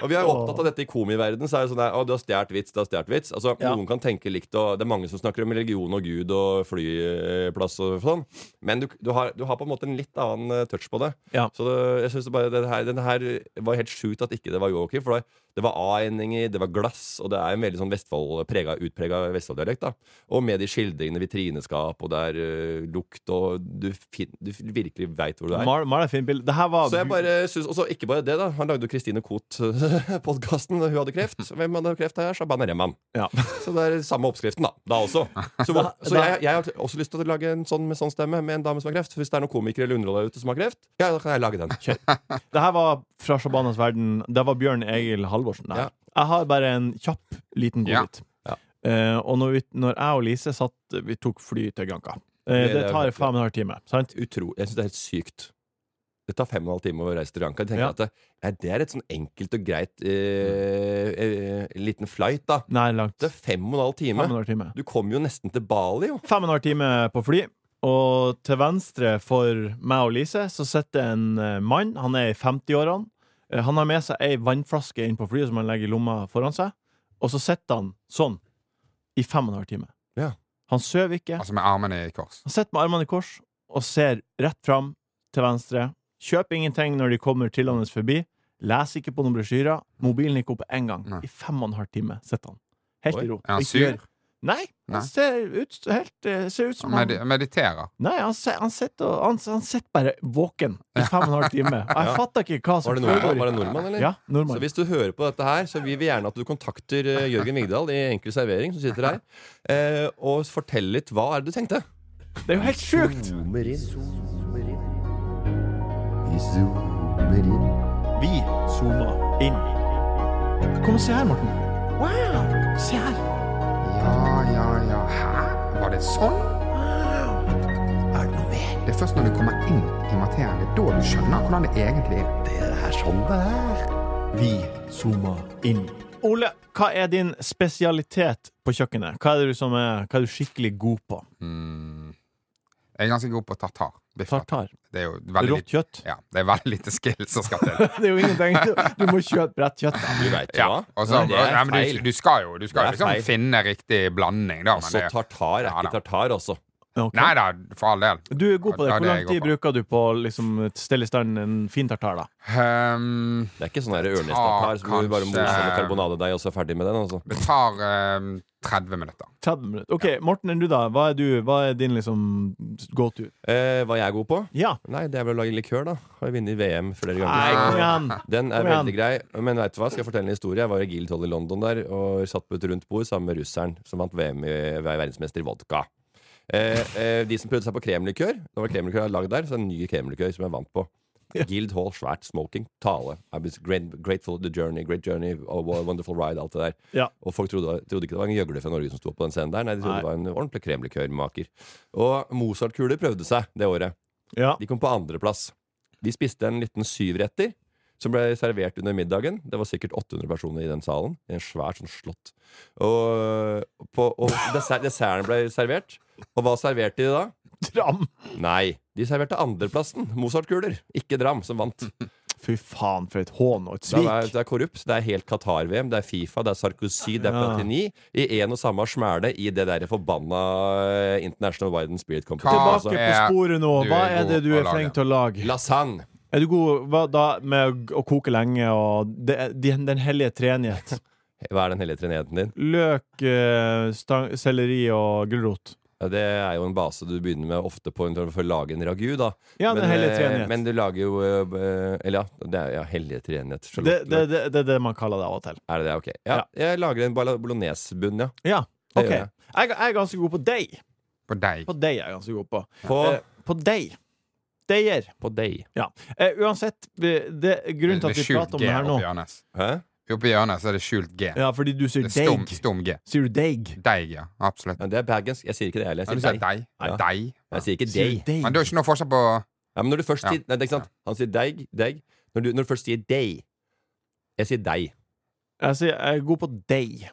Og Vi er jo opptatt av dette i komiverden Så er det sånn der, å, du har stjålet vits, du har stjålet vits. Altså, Ja. Noen kan tenke likt, og det er mange som snakker om religion og Gud og flyplass og sånn. Men du, du, har, du har på en måte en litt annen eh, touch på det. Ja. Så det, jeg synes det bare den her, den her var helt sjukt at ikke det var yogi. For det, det var a-endinger, det var glass, og det er en veldig sånn Vestfold prega, utprega Vestfold-dialekt. da Og med de skildringene, vitrineskap, og det er eh, lukt, og du, fin, du virkelig veit hvor du er. Mal, mal er fint bilde. Det her var Så jeg bare synes, også, ikke bare det da Han lagde jo Kristine Koht-podkasten Hun hadde kreft Hvem hadde kreft her? Shabana Rehman Ja. Så det er samme oppskriften da Da også Så, hvor, så Da- jeg, jeg har også lyst til å lage en sånn med sånn stemme Med en dame som har kreft Hvis det er noen komikere eller underholder ute som har kreft Ja, da kan jeg lage den Det her var fra Shabanas verden. Det var Bjørn Egil Halvorsen. det her. Ja. Jeg har bare en kjapp, liten Ja. godbit. Ja. Eh, og når, vi, når jeg og Lise satt Vi tok fly til Granca. Eh, Det- det, det er- tar fem og en halv time. Sant? Utro, jeg synes det er helt sykt det tar fem og en halv time å reise til Ranka. Jeg tenker Ja. at det, nei, det er et sånn enkelt og greit eh, eh, liten flight, da. Nei, langt. Det er fem og en halv Fem og time. en halv time. Du kommer jo nesten til Bali, jo. Fem og en halv time på fly. Og til venstre for meg og Lise så sitter en eh, mann. Han er i 50-årene. Eh, Han har med seg ei vannflaske inn på flyet som han legger i lomma foran seg. Og så sitter han sånn i fem og en halv time. Ja. Han sover ikke. Altså med armene i kors. Han sitter med armene i kors og ser rett fram til venstre. Kjøper ingenting når de kommer trillende forbi. Leser ikke på noen brosjyrer. Mobilen gikk opp én gang. Nei. I fem og en halv time sitter han. Helt Oi. i ro. Er han Ikke sur? gjør- Nei. Nei. Han ser ut, helt, eh, ser ut som Han med han mediterer. Nei, han, se- han sitter og- han, han sitter bare våken i fem og en halv time. Og jeg Ja. fatter ikke hva som Var det nordmann, foregår. var det nordmann eller? Altså, Ja, Så nordmann. hvis du hører på dette her, så vil vi gjerne at du kontakter eh, Jørgen Vigdal i Enkel servering, som sitter her, eh, og fortell litt hva er det du tenkte. Det er jo helt sjukt! Zoomer inn. Zoomer inn. Vi zoomer inn. Vi zoomer inn. Kom og se her, Morten. Wow! Se her. Ja, ja, ja. Hæ? Var det sånn? Er det noe mer? Det er først når du kommer inn i materien, det er da du skjønner hvordan det egentlig er. Det er sånn det er. Vi zoomer inn. Ole, hva er din spesialitet på kjøkkenet? Hva er det du som er, hva er du skikkelig god på? Mm. Jeg er ganske god på tartar. Biff Tartar. Det er jo veldig Rått lite, kjøtt. ja, det er veldig lite skill som skal til. Det er jo ingenting. Du må kjøpe rett kjøtt. da. Du veit Ja, hva? og så- det er ja, men feil. du, du skal jo, du Det skal jo er liksom feil. finne riktig blanding, da. Men Altså, det, tartar er Ja, ikke da. tartar, altså. Ok. nei da, for all del. Du er god på det. Ja, Hvor det er lang jeg tid god på. bruker du på å liksom, stelle i stand en fin tartar, da? Ehm, Det er ikke sånn der ørnestartar som du bare moser med kanskje- karbonadedeig, og så er ferdig med den, altså. det tar ehm, 30 minutter. 30 minutter. Ok, Morten, enn du da? Hva er, du, hva er din liksom go to? Eh, hva jeg er god på? Ja. Nei, det er vel å lage likør, da. Har jeg vunnet VM flere ganger. Nei, kom igjen! Den er Kom igjen. veldig grei. Men vet du hva, skal jeg fortelle en historie? Jeg var i Guildhall i London der og satt på et rundt bord sammen med russeren som vant VM i var verdensmester i vodka. Eh, eh, de som prøvde seg på kremlikør, det var kremlikør jeg hadde lagd der, så en ny kremlikør som jeg vant på. Guildhall, svært smoking, tale. I've been great, grateful the journey, great journey, oh, what a wonderful ride, alt det der. Ja. Og folk trodde, trodde ikke det var en gjøgler fra Norge som sto på den scenen der. Nei, de Nei. trodde det var en ordentlig kremlikørmaker. Og Mozart-kuler prøvde seg det året. ja. De kom på andreplass. De spiste en liten syvretter som ble servert under middagen. Det var sikkert 800 personer i den salen. I en svær sånn slott. Og, på, og dessert, desserten ble servert. Og hva serverte de da? Tram! Nei, de serverte andreplassen. Mozart-kuler. Ikke Dram, som vant. Fy faen, for et hån og et Det er, svik! det er korrupt. Det er helt Qatar-VM, det er Fifa, det er Sarkozy, det er Ja. Platini. I én og samme smæle i det der forbanna eh, International Widen Spirit Competition. Tilbake Hva- Altså, på sporet nå. Du er Hva er det god du på å er flink lage. til å lage? lasagne. Er du god hva, da, med å koke lenge og det, den, den hellige treenighet? Hva er den hellige treenigheten din? Løk, eh, stang, selleri og gulrot. Ja, det er jo en base du begynner med ofte på for å lage en ragu, da. Ja, den hellige eh, treenighet. men du lager jo eh, Eller ja, det er ja, hellige treenighet. Det Charlotte. er det, det, det, er det man kaller det av og til. Er det det? Ok. Ja, Jeg lager en bala- bolognesbunn, ja. Ja, Det OK. gjør jeg. Jeg, jeg er ganske god på deig. På deg. På deig er jeg ganske god på. På Eh, på deig. Deier. På deg. Ja. Eh, uansett, det, det- grunnen til at vi prater om det her nå oppi hjørnet. Hæ? Oppi hjørnet så er det skjult G. Ja, fordi du sier Det er stum, deig. stum G. Sier du deig? Deig, ja. Absolutt. Men det er bergensk. Jeg sier ikke det heller. Ja, Jeg du sier sier deg. deig. Ja. Deig. Jeg sier ikke Sier du deg. deig? Men det er ikke noe forskjell på Ja, men når du først Ja. sier Nei, det er ikke sant? Han sier deg, deg. Når du, når du først sier deg Jeg sier deg. Jeg sier jeg er god på deig.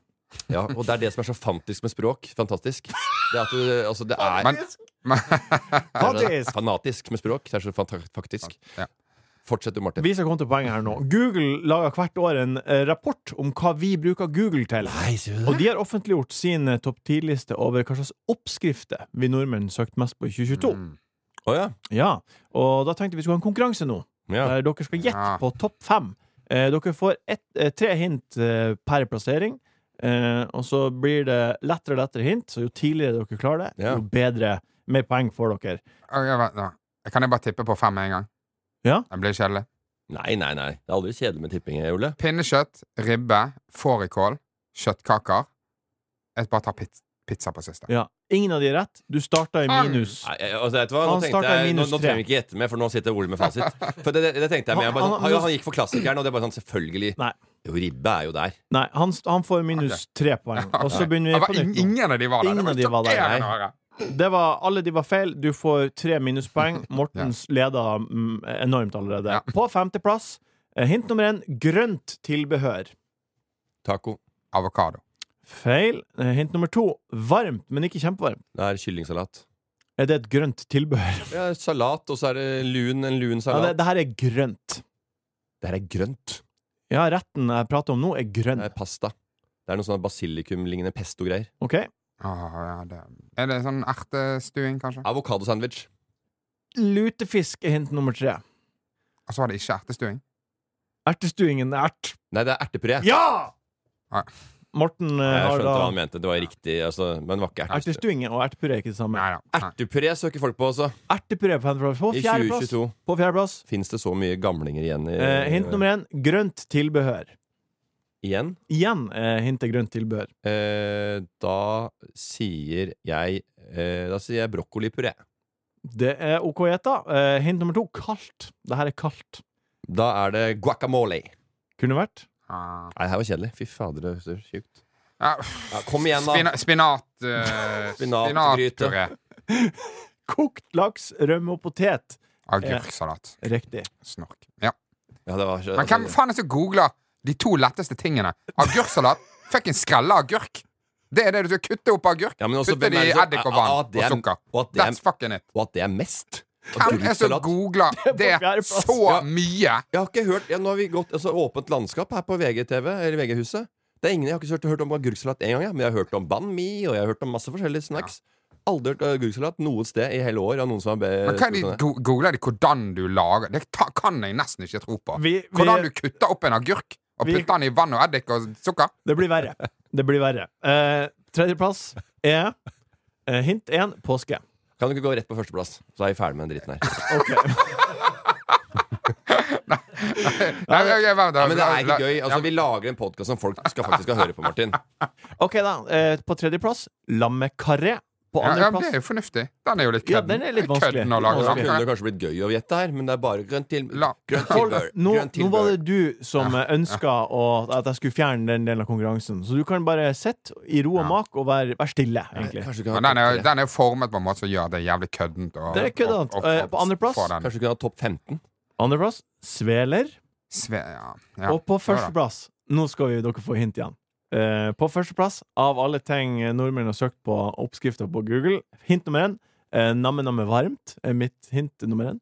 Ja, og det er det som er så fantisk med språk. Fantastisk. Det er at du, altså, det er Men Faktisk! Fanatisk med språk. Det er så fanta- faktisk. Ja. Fortsett du, Martin. Vi skal komme til poenget her nå. Google lager hvert år en eh, rapport om hva vi bruker Google til. Og de har offentliggjort sin eh, topp 10-liste over hva slags oppskrifter vi nordmenn søkte mest på i 2022. Mm. Å ja. Ja, Og da tenkte vi skulle ha en konkurranse nå, ja. der dere skal gjette Ja. på topp fem. Eh, dere får ett, eh, tre hint eh, per plassering, eh, og så blir det lettere og lettere hint. Så jo tidligere dere klarer det, Ja. jo bedre, mer poeng får dere. Å, jeg vet- ja. Kan jeg bare tippe på fem med en gang? Ja. Det blir kjedelig. Nei, nei, nei. Det er aldri kjedelig med tipping, Ole. Pinnekjøtt, ribbe, fårikål, kjøttkaker. Jeg bare tar pizza, pizza på siste. Ja. Ingen av de er rett. Du starta i minus. Nei, jeg- altså, vet du hva? Nå, Han tenkte startet i jeg, nå, minus nå tre. trenger vi ikke gjette mer, for nå sitter Ole med fasit. For det, det, det tenkte jeg med. Jeg bare, Han- sånn, han- ja, han gikk for klassikeren, og det er bare sånn selvfølgelig. Nei. Jo, ribbe er jo der. Nei, han, han får minus tre poeng. Og så begynner Det vi var på in- nytt. nå. ingen av de var der! Ingen av de det var var der, sjokkerende nei. å høre. Det var, alle de var feil. Du får tre minuspoeng. Mortens leder mm, enormt allerede. Ja. På femteplass, eh, hint nummer én, grønt tilbehør. Taco. Avokado. Feil. Eh, Hint nummer to, varmt, men ikke kjempevarmt. Det er kyllingsalat. Er det et grønt tilbehør? Ja, salat, og så er det lun, en lun Ja, det, salat. det her er grønt. det her er grønt. Ja, retten jeg prater om nå, er grønn. Det er pasta. Det er noe sånn basilikum-lignende pesto-greier. OK? Åh, ja, det. Er det sånn ertestuing, kanskje? Avokadosandwich. Lutefisk er hint nummer tre. Og så var det ikke ertestuing. Ertestuingen er ert. Nei, det er ertepuré. Ja! Nei. Morten eh, Jeg har skjønte da hva han mente. Det var riktig, altså, men det var ikke ertepuré. Ertestuing og ertepuré er ikke det samme. Nei da. Nei. Ertepuré søker folk på også. Ertepuré på fjerdeplass. På I fjerdeplass. 2022 På fjerdeplass. fins det så mye gamlinger igjen. I, Eh, hint nummer én grønt tilbehør. Igjen. Igjen eh, hint er grønt tilbehør. Eh, da sier jeg eh, Da sier jeg brokkolipuré. Det er OK gjetta. Eh, hint nummer to kaldt. Det her er kaldt. Da er det guacamole. Kunne vært. Ah. Nei, det her var kjedelig. Fy fader, det høres sjukt Ja, ja, Kom igjen, da. Spina, spinat eh, Spinatgryte. Spinatpuré. Kokt laks, rømme og potet. Agurksalat. Riktig. Snork. Ja. Ja, det var, så- Men hvem faen er det som googler de to letteste tingene? Agurksalat? Fuckings skrelle agurk! Det er det du skal kutte opp agurk. Ja, men også, Putte hvem det er i det som- eddik og Ja, ja, vann at det og er- sukker. og at det er- That's fucking it. Og at det er mest? Hvem er det som Agurksalat. googler det fjerdeplass. så Ja. mye? Jeg har ikke hørt ja, Nå har vi gått altså, åpent landskap her på VGTV, eller VG-huset. Det er ingen, Jeg har ikke hørt, hørt om agurksalat én gang, jeg, men jeg har hørt om banh mi og jeg har hørt om masse forskjellige snacks. Aldri hørt agurksalat noe sted i hele år av noen som har be- Men hva er de, go googler de hvordan du lager Det ta, kan jeg nesten ikke tro på. Vi- vi- hvordan du kutter opp en agurk og Vi- putter den i vann og eddik og sukker. Det blir verre. Det blir verre. Eh, Tredjeplass er eh, hint én påske. Kan du ikke gå rett på førsteplass, så er vi ferdig med den dritten her. Nei, jeg- jeg- vent, Ja, men det er la- ikke gøy. Altså, Vi lager en podkast som folk skal faktisk skal høre på, Martin. OK, da. Eh, på tredjeplass lammekaré. På ja, ja, men andreplass det er jo fornuftig. Den er jo litt Ja, kødden. den er litt Det vanskelig. kødden å lage Så Vanskelig. kunne sånn. det kanskje blitt gøy å gjette her, men det er bare grønt til... La- Grønt Hold, tilbør. altså, nå, Grønt nå var tilbør. det du som eh, ønska å- at jeg skulle fjerne den delen av konkurransen, så du kan bare sitte i ro og mak og være, være stille, egentlig. Kanskje du kunne Men ha den er, topp tre? den er formet på en måte som gjør det jævlig køddent. å- Det er køddent. å- å- Eh, å på andreplass- få den. Kanskje du kunne ha topp 15? Andreplass sveler. Sve, ja. Ja. Og på det var det. førsteplass Nå skal vi dere få hint igjen. Eh, på førsteplass av alle ting eh, nordmenn har søkt på oppskrifter på Google, hint nummer én eh, namme-namme varmt er mitt hint nummer én.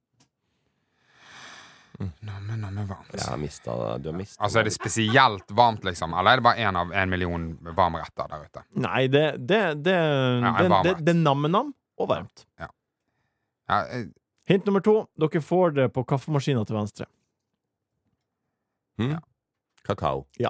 Namme, namme varmt. Jeg har mista Du har mista Altså, Er det spesielt varmt, liksom? Eller er det bare én av en million varmretter der ute? Nei, det Det, det, det, varmt. det, det er namme-nam og varmt. Ja, eh, Hint nummer to dere får det på kaffemaskina til venstre. kakao. Ja.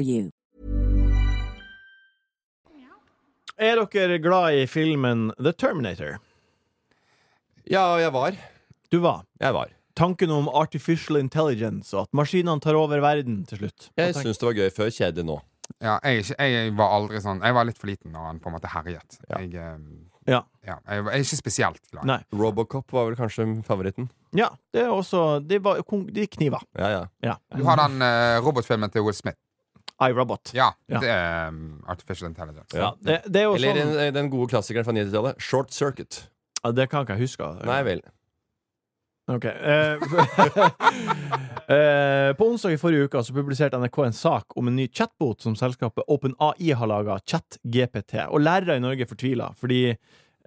you. Er dere glad i filmen The Terminator? Ja, jeg var. Du var. Jeg var. Tanken om artificial intelligence og at maskinene tar over verden til slutt. Jeg Hva tenker- syns det var gøy før. Kjedelig nå. Ja, jeg, er ikke- jeg var aldri sånn Jeg var litt for liten når han på en måte herjet. Ja. Jeg, eh, Ja. ja, jeg, var- jeg er ikke spesielt glad. Nei. Robocop var vel kanskje favoritten. ja. Det er også De, var, de kniver. Ja, ja. Ja. Du har den eh, robotfilmen til Will Smith. iRobot. Ja, Ja. det er um, Artificial Intelligence. Ja. Det, det er jo Eller sånn den, den gode klassikeren fra 90-tallet. Short Circuit. ja, Det kan ikke jeg huske. Nei vel. Ok. eh, eh, på onsdag i forrige uke så publiserte NRK en sak om en ny chatbot som selskapet OpenAI har laga, ChatGPT. Og lærere i Norge fortviler fordi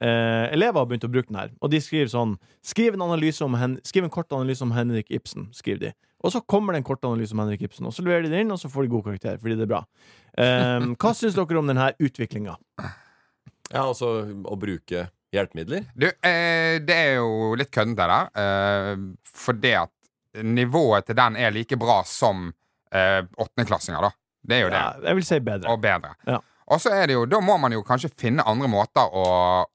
eh, elever har begynt å bruke den her. Og de skriver sånn Skriv en, analyse om Hen skriv en kort analyse om Henrik Ibsen. Skriver de. Og så kommer det en kort analyse om Henrik Ibsen, og så leverer de den inn, og så får de god karakter fordi det er bra. Eh, hva syns dere om denne utviklinga? Ja, altså å bruke hjelpemidler. Du, eh, det er jo litt køddent, det der. Eh, fordi at nivået til den er like bra som eh, åttendeklassinger, da. Det er jo det. Ja, jeg vil si bedre. Og bedre. Ja. Og så er det jo Da må man jo kanskje finne andre måter å,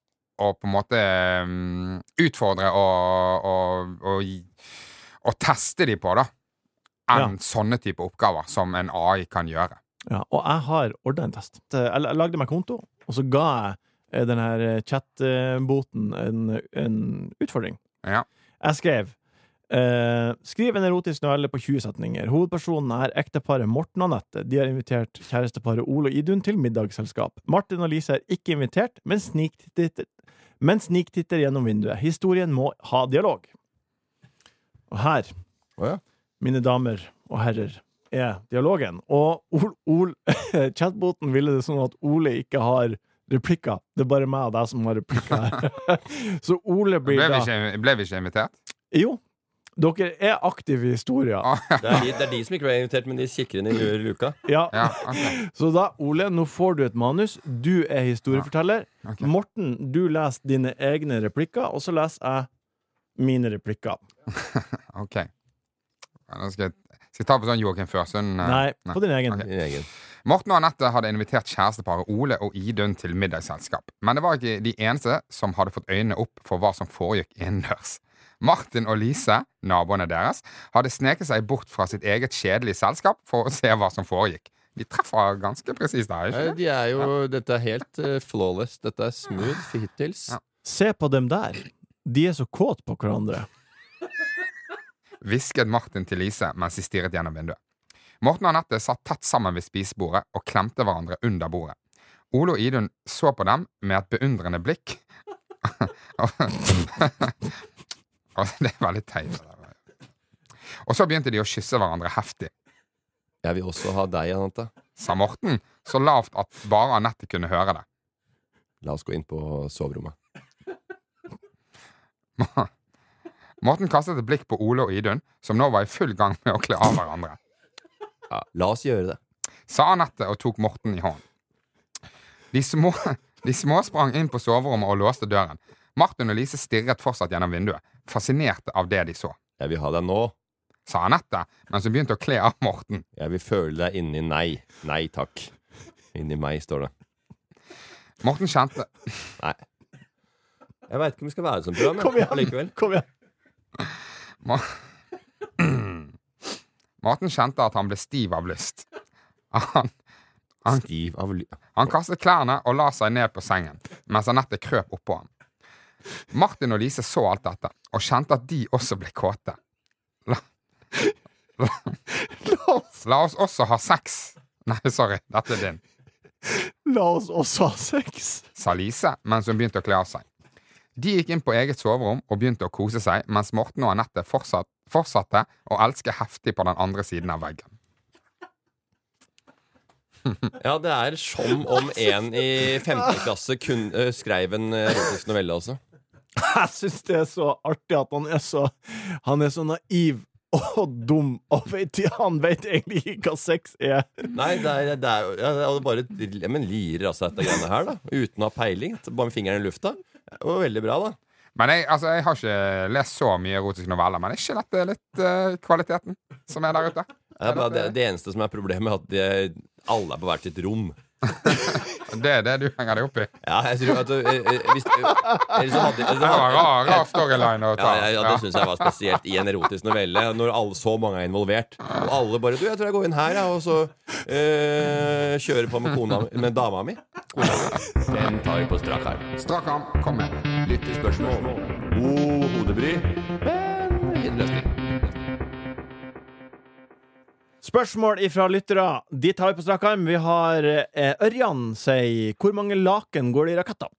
å på en måte mm, utfordre og, og, og, gi- og teste de på, da. Enn sånne type oppgaver som en AI kan gjøre. Ja, og jeg har ordna en test. Eh, Jeg jeg lagde meg konto, og så ga jeg eh, den her eh, chat-boten en, en utfordring. Ja. Jeg skrev eh, Skriv en erotisk novelle på 20 setninger. Hovedpersonen er ekteparet Morten og Anette. De har invitert kjæresteparet Ole og Idun til middagsselskap. Martin og Lise er ikke invitert, men sniktitter, men sniktitter gjennom vinduet. Historien må ha dialog. Og her Å ja. mine damer og herrer, er dialogen. Og Ol, Ol, chatboten ville det sånn at Ole ikke har replikker. Det er bare meg og deg som har replikker her. Så Ole blir Ble vi da ikke, ble vi ikke invitert? Jo, dere er aktive i historia. Det er, de, det er de som ikke ble invitert, men de kikker inn i lure luka. Ja. Ja, ok. Så da, Ole, nå får du et manus. Du er historieforteller. ok. Morten, du leser dine egne replikker, og så leser jeg mine replikker. ok. Ja, Nå skal jeg, skal jeg ta på sånn Joakim Førsund. eh, Nei, på din egen. Ok. Din egen. Morten og Anette hadde invitert kjæresteparet Ole og Idun til middagsselskap, men det var ikke de eneste som hadde fått øynene opp for hva som foregikk innendørs. Martin og Lise, naboene deres, hadde sneket seg bort fra sitt eget kjedelige selskap for å se hva som foregikk. De treffer ganske presist her, ikke Nei, De er jo, Dette er helt eh, flawless. Dette er smooth hittils. Ja. Se på dem der. De er så kåte på hverandre. det? Hvisket Martin til Lise mens de stirret gjennom vinduet. Morten og Anette satt tett sammen ved spisebordet og klemte hverandre under bordet. Ole og Idun så på dem med et beundrende blikk. Altså, det er veldig teit. det der. Og så begynte de å kysse hverandre heftig, Jeg vil også ha deg, Anette. sa Morten, så lavt at bare Anette kunne høre det. La oss gå inn på soverommet. Morten kastet et blikk på Ole og Idun, som nå var i full gang med å kle av hverandre, Ja. La oss gjøre det. sa Anette og tok Morten i hånden. De små, de små sprang inn på soverommet og låste døren. Martin og Lise stirret fortsatt gjennom vinduet, fascinerte av det de så, Jeg vil ha deg nå. sa Anette mens hun begynte å kle av Morten. Jeg vil føle deg inni nei. Nei takk. Inni meg, står det. Morten kjente Nei. Jeg veit ikke om vi skal være som program, men Kom igjen, likevel. Kom igjen. Morten kjente at han ble stiv av lyst. Han, han, stiv av lyst Han kastet klærne og la seg ned på sengen, mens Anette krøp oppå ham. Martin og Lise så alt dette, og kjente at de også ble kåte. La, la, la oss også ha sex. Nei, sorry, dette er din. La oss også ha sex. sa Lise mens hun begynte å kle av seg. De gikk inn på eget soverom og begynte å kose seg, mens Morten og Anette fortsatt, fortsatte å elske heftig på den andre siden av veggen. Ja, det er som om en i femte klasse kun, eh, skrev en eh, erotisk novelle også. Jeg syns det er så artig at han er så Han er så naiv og dum, og vet, han vet egentlig ikke hva sex er. Nei, det er, det er, ja, det er bare ja, Men lirer altså dette greiene her, da. Uten å ha peiling. Bare med fingeren i lufta. Det var veldig bra, da. Men jeg, altså, jeg har ikke lest så mye erotisk noveller, men er ikke dette litt eh, kvaliteten som er der ute? Det, er bare, det, det eneste som er problemet, er at det, alle er på hvert sitt rom. Det er det du henger deg opp i. Ja, jeg tror at eh, eh, hvis, eh, eller så hadde, eller så Det var hadde- rar, rar storyline å ta. Ja, ja, ja, det syns jeg var spesielt i en erotisk novelle, når alle, så mange er involvert. Og alle bare 'Du, jeg tror jeg går inn her, jeg', og så eh, kjører på med kona Med dama mi. Kona mi. Den tar vi på strak arm. Strak arm, kom med. Lyttespørsmål. God hodebry. Spørsmål ifra lyttere. De tar vi på strak arm. Vi har eh, Ørjan sier Hvor mange laken går det i raketter?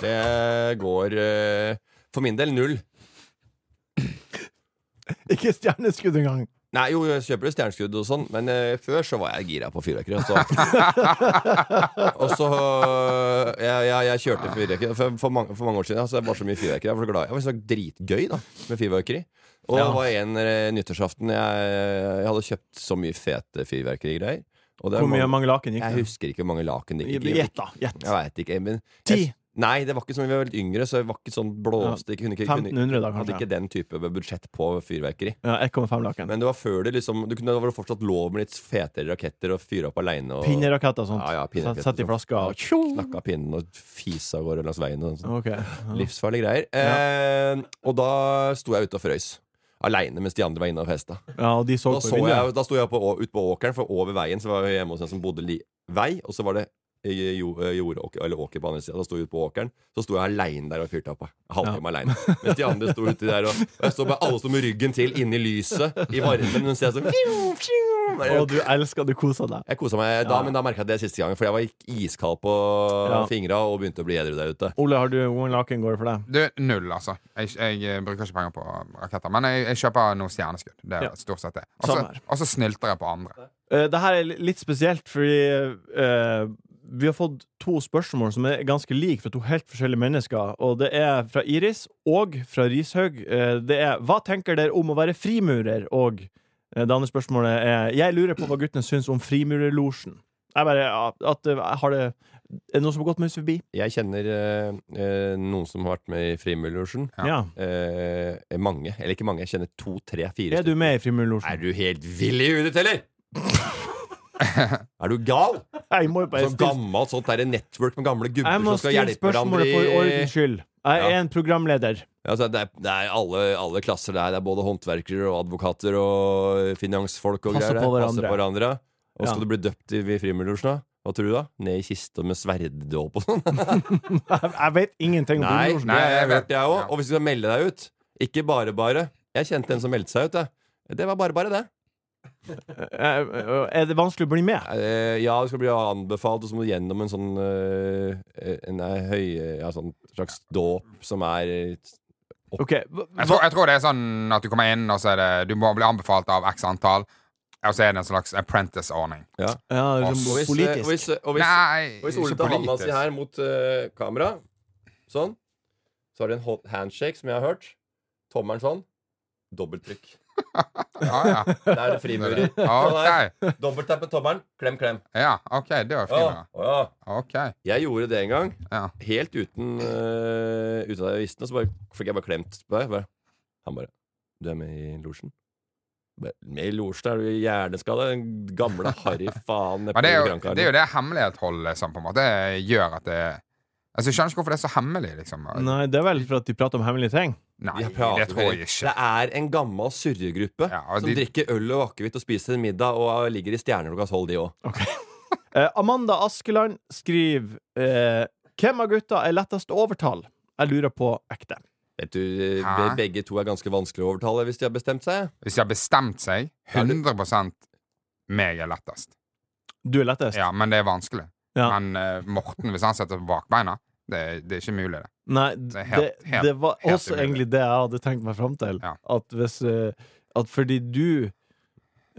Det går eh, for min del null. Ikke stjerneskudd engang. Nei, jo, jeg kjøper jo stjerneskudd og sånn, men eh, før så var jeg gira på fyrverkeri. Og så, og så eh, jeg, jeg, jeg kjørte fyrverkeri for, for, mange, for mange år siden. Altså, jeg var så mye fyrverkeri. Jeg var så glad. Jeg var så dritgøy da, med fyrverkeri. Og det Ja. var en eh, nyttårsaften jeg, jeg hadde kjøpt så mye fete fyrverkerigreier. Og det er Hvor mye mange laken gikk Jeg det? husker ikke hvor mange laken det gikk i. Gjett, da. Gjett. Jeg vet ikke. Men, Ti? Jeg, nei, det var ikke sånn vi var litt yngre, så det var ikke sånn blåste. Ikke, kunne ikke, kunne, 1500, da, hadde kanskje. ikke den type budsjett på fyrverkeri. Ja, 1,5 laken. Men det var før det liksom du kunne, Da var det fortsatt lov med litt fetere raketter og fyre opp aleine. Og Pinneraketter og sånt. Ja, ja, pinneraketter Sett- Sett i og sånt. flaska og tjo! knakka pinnen og fisa av gårde langs veien. Og sånn. Ok. Ja. Livsfarlige greier. Eh, og da sto jeg ute og frøys. Aleine mens de andre var inne og festa. ja, og de så Da, på så vinduet. jeg, da sto jeg på, å- ut på åkeren, for over veien så var jeg hjemme hos en som bodde li vei. Og så var det eh, jo- eh, jord, åker- eller åker på andre sida. Da sto jeg ute på åkeren. Så sto jeg aleine der og fyrte opp. en Halvtime alene Mens de andre sto uti der, og, og jeg så bare alle sto med ryggen til inne i lyset, i varmen. Men så jeg sånn fiu, fiu, bare- Og du elska, du kosa deg. jeg kosa meg da, men da merka jeg det siste gangen, for jeg var ikk- iskald på Ja. fingra og begynte å bli edru der ute. Ole, har du hvor mange laken går det for deg? Du, null, altså. Jeg, jeg eh, bruker ikke penger på eh, raketter. Men jeg, jeg kjøper noe stjerneskudd. Det er Ja. stort sett det. Og Samme så- her. Og så snylter jeg på andre. Uh, det her er li- litt spesielt, fordi eh, vi har fått to spørsmål som er ganske like fra to helt forskjellige mennesker. Og det er fra Iris og fra Rishaug. Eh, det er Hva tenker dere om å være frimurer? Og eh, det andre spørsmålet er Jeg lurer på hva guttene syns om frimurerlosjen. Jeg bare ja, at, eh, har det Er det noen som har gått meg forbi? Jeg kjenner eh, eh, noen som har vært med i Frimurlosjen. Ja. Ja. Eh, mange. Eller ikke mange. Jeg kjenner to, tre, fire. Er du stykker. med i frimurerlosjen? Er du helt vill i huet ditt, eller?! er du gal?! Jeg må jo bare Sånn stille- gammelt sånt der network med gamle gubber Jeg må som skal stille hjelpe hverandre spørsmålet for ordens i skyld. Jeg er Ja. en programleder. altså, Det er, det er alle, alle klasser der. Det er både håndverkere og advokater og finansfolk og Passer greier. på hverandre. der. Passer på hverandre. Og skal Ja. du bli døpt i i Frimurlosjen, da? Hva tror du, da? Ned i kista med sverddåp og sånn? Jeg, jeg vet ingenting om Nei, frimurerlosjen. det har jeg Nei, hørt, jeg vet. jeg òg. Ja. Og hvis du skal melde deg ut Ikke bare, bare. Jeg kjente en som meldte seg ut, jeg. Det var bare, bare, det. Eh, Er det vanskelig å bli med? Eh, ja, du skal bli anbefalt, og så må du gjennom en sånn eh, En eh, høy, ja, sånn slags dåp som er eh, Ok, hva- Jeg tror, jeg tror det er sånn at du kommer inn, og så er det Du må bli anbefalt av x antall, og så er det en slags apprentice-ordning. Ja. Ja, Og liksom Og hvis, eh, og politisk. hvis, og hvis, Nei, og hvis ikke Ole tar handa si politisk. her mot eh, kamera, sånn, så har du en hot handshake, som jeg har hørt. Tommelen sånn. Dobbelttrykk. Ja, ja. Der er det frimurer. Sånn Ok, her. Dobbelttapp med tommelen. Klem, klem. ja, ok, det Ja, var frimurer. ja. Ok, Jeg gjorde det en gang. ja. Helt uten øh, Uten at jeg visste det, så bare, fikk jeg bare klemt på deg. Bare. Han bare 'Du er med i losjen?' Mel Olsen er du hjerneskada. Den gamle harry faen. Men det er, jo, Gran Canaria. det er jo det hemmeligholdet som på en måte gjør at det Altså, Jeg skjønner ikke hvorfor det er så hemmelig. liksom Nei, det er vel for at de prater om hemmelige ting. Nei, Jeg prater det tror med- jeg ikke. Det er en gammel surregruppe og som de- drikker øl og akevitt og spiser en middag og ah, ligger i stjerner klokka tolv, de òg. Eh, Amanda Askeland skriver eh, Hvem av gutta er lettest å overtale? Jeg lurer på ekte. Vet du, eh, Hæ? be- begge to er ganske vanskelig å overtale hvis de har bestemt seg. Hvis de har bestemt seg 100 meg er lettest. Du er lettest? Ja, men det er vanskelig. Ja. Men eh, Morten, hvis han setter på bakbeina, det, det er ikke mulig, det. Nei, Det det, er helt- helt- det var helt også umulig. egentlig det jeg hadde tenkt meg fram til. Ja. At hvis eh, At fordi du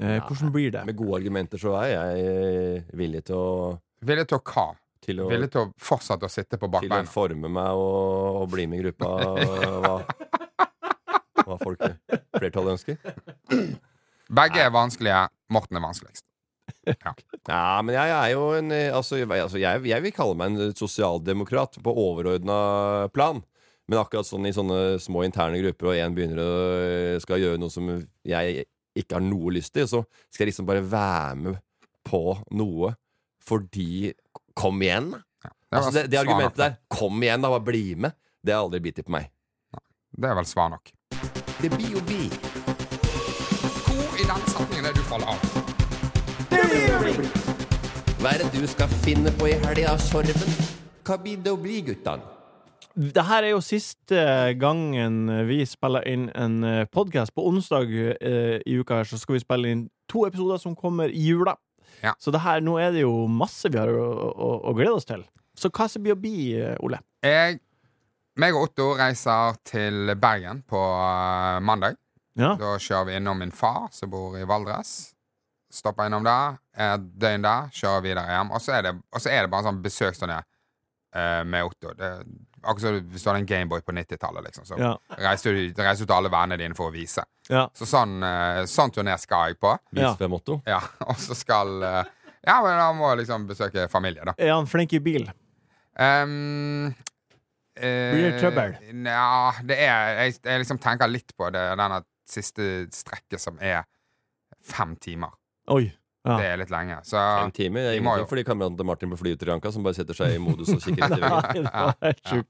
eh, Hvordan blir det? Med gode argumenter så er jeg eh, villig til å, Ville til å hva? til å, Ville til å fortsette å sitte på til å bakbeina? forme meg og, og bli med i gruppa og hva, hva folk flertallet ønsker. Begge er vanskelige. Morten er vanskeligst. Ja, men jeg er jo en eh, Altså, jeg, altså, jeg, jeg vil kalle meg en sosialdemokrat på overordna plan. Men akkurat sånn i sånne små interne grupper, og én begynner å eh, skal gjøre noe som jeg ikke har noe lyst til, så skal jeg liksom bare være med på noe fordi Kom igjen! da. Det er Altså, vel det, det svar nok, argumentet der. Kom igjen, da, bare bli med. Det har aldri bitt på meg. Det er vel svar nok. Det blir jo bi. Hvor i den setningen er du faller av? Hva er det du skal finne på i helga, Sorven? Hva blir det å bli, guttan? Det her er jo siste gangen vi spiller inn en podkast. På onsdag eh, i uka her så skal vi spille inn to episoder som kommer i jula. Ja. Så det her, nå er det jo masse vi har å, å, å glede oss til. Så hva som blir å bli, eh, Ole? Jeg, meg og Otto reiser til Bergen på eh, mandag. Ja. Da kjører vi innom min far, som bor i Valdres. Stopper innom der, et døgn der, kjører videre hjem. Og så er det, og så er det bare en sånn besøksturné eh, med Otto. Det, akkurat som hvis du hadde en Gameboy på 90-tallet, liksom. Så Ja. reiser du reiser du til alle vennene dine for å vise. Ja. Så sånn, eh, sånn turné skal jeg på. Vis Ja. ved motto. Ja, og så skal eh, Ja, men han må liksom besøke familie, da. Er han flink i bil? Ehm, eh, Blir det trøbbel? Nja, det er jeg, jeg liksom tenker litt på det denne siste strekket som er fem timer. Oi. Ja. Det er litt lenge. Så Fem timer. Det er vi må jo- ingenting for de kameratene til Martin på flyet til Sri Lanka som bare setter seg i modus og kikker rett i Nei, veggen. det var helt sjukt.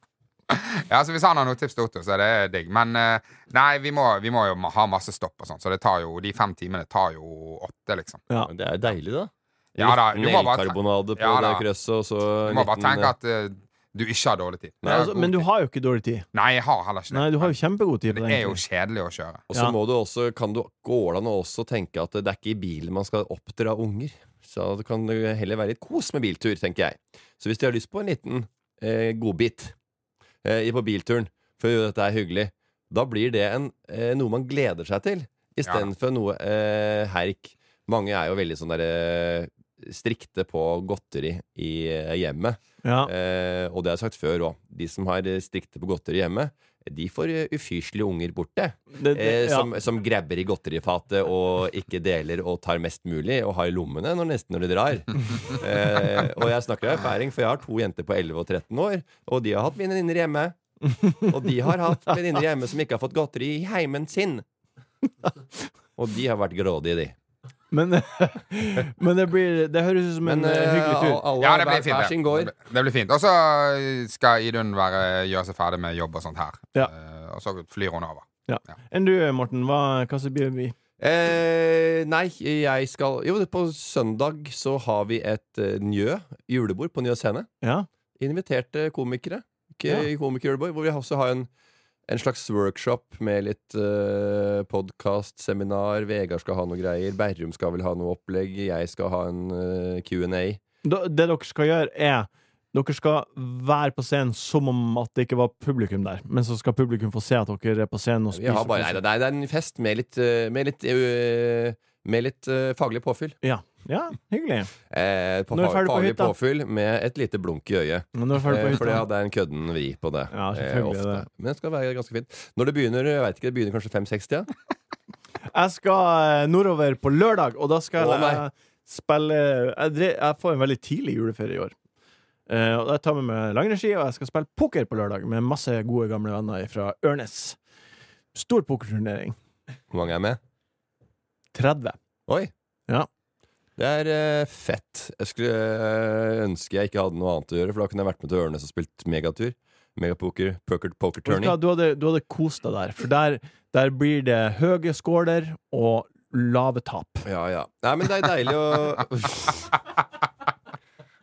Ja, så Hvis han har noen tips til Otto, så er det digg. Men eh, nei, vi må, vi må jo ha masse stopp og sånn, så det tar jo, de fem timene tar jo åtte, liksom. Ja. Men Det er jo deilig, da. Ja da, Liten du må bare elkarbonade på Ja det da. krøsset, og så Du må bare liten- tenke at eh, du ikke har dårlig tid. Nei, altså, men du har jo ikke dårlig tid. Nei, jeg har heller ikke det. Nei, du har jo kjempegod tid Men på det den. er jo tiden. kjedelig å kjøre. Og så Ja. må du også, kan du går det an å også tenke at det er ikke i bilen man skal oppdra unger. Så det kan jo heller være litt kos med biltur, tenker jeg. Så hvis de har lyst på en liten eh, godbit eh, i- på bilturen for å gjøre dette er hyggelig, da blir det en, eh, noe man gleder seg til, istedenfor noe eh, herk. Mange er jo veldig sånn derre strikte på godteri i eh, hjemmet. Ja. Eh, og det har jeg sagt før òg. De som har eh, strikte på godteri hjemme, de får eh, ufyselige unger borte. Det, det, Eh, ja. som, som grabber i godterifatet og ikke deler og tar mest mulig og har i lommene når, nesten når de drar. eh, og jeg snakker av erfaring, for jeg har to jenter på 11 og 13 år, og de har hatt venninner hjemme. Og de har hatt venninner hjemme som ikke har fått godteri i heimen sin. Og de har vært grådige, de. Men, men det blir Det høres ut som en Men eh, eh, hyggelig tur. alle Ja, har det hver, blir fint. hver sin gård. det. Det blir fint. Og så skal Idun være, gjøre seg ferdig med jobb og sånt her. Ja. Eh, og så flyr hun over. Enn du, Morten? Hva, hva som blir å bli? Eh, nei, jeg skal Jo, på søndag så har vi et eh, Njø julebord på Njø scene. Ja. Inviterte komikere k- Ja. i komikerjulebord, hvor vi også har en, en slags workshop med litt eh, podkast, seminar. Vegard skal ha noe greier. Berrum skal vel ha noe opplegg. Jeg skal ha en eh, Q&A. Da, det dere skal gjøre, er dere skal være på scenen som om at det ikke var publikum der, men så skal publikum få se at dere er på scenen og Vi spiser. har bare, nei, det, er, det er en fest med litt, eh, med litt, eh, med litt eh, faglig påfyll. Ja. ja, hyggelig. Eh, på, Når er du fa- ferdig på faglig hytta? påfyll med et lite blunk i øyet. Men nå er vi ferdig Eh, på For det hytta. hadde jeg en kødden vri på det. Ja, eh, selvfølgelig ofte. det. Men det skal være ganske fint. Når det begynner, jeg vet ikke, det begynner kanskje 5.60? Ja. Jeg skal eh, nordover på lørdag, og da skal Å, nei. jeg spille jeg, dre, jeg får en veldig tidlig juleferie i år. Eh, og Jeg tar med meg langrennsski, og jeg skal spille poker på lørdag med masse gode, gamle venner fra Ørnes. Stor pokerturnering. Hvor mange er med? 30. Oi. Ja. Det er eh, fett. Jeg skulle eh, ønske jeg ikke hadde noe annet å gjøre, for da kunne jeg vært med til Ørnes og spilt megatur. Megapoker, poker, poker Vet du turning. hva, Du hadde, du hadde kost deg der, for der, der blir det høye skåler og lave tap. Ja, ja. Nei, men det er deilig å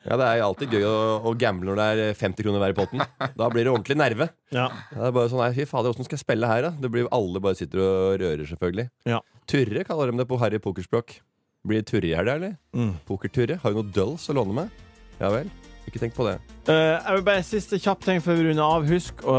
Ja, det er alltid gøy å, å gamble når det er 50 kroner hver i potten. Da blir det ordentlig nerve. Ja. Det er bare sånn, nei, Fy fader, åssen skal jeg spille her, da? Det blir, alle bare sitter og rører, selvfølgelig. Ja. Turre kaller de det på harry pokerspråk. Blir det turre i helga, eller? Mm. Pokerturre? Har du noe døls å låne med? Ja vel. Ikke tenk på det. Eh, jeg vil bare Siste kjapp ting før vi runder av. Husk å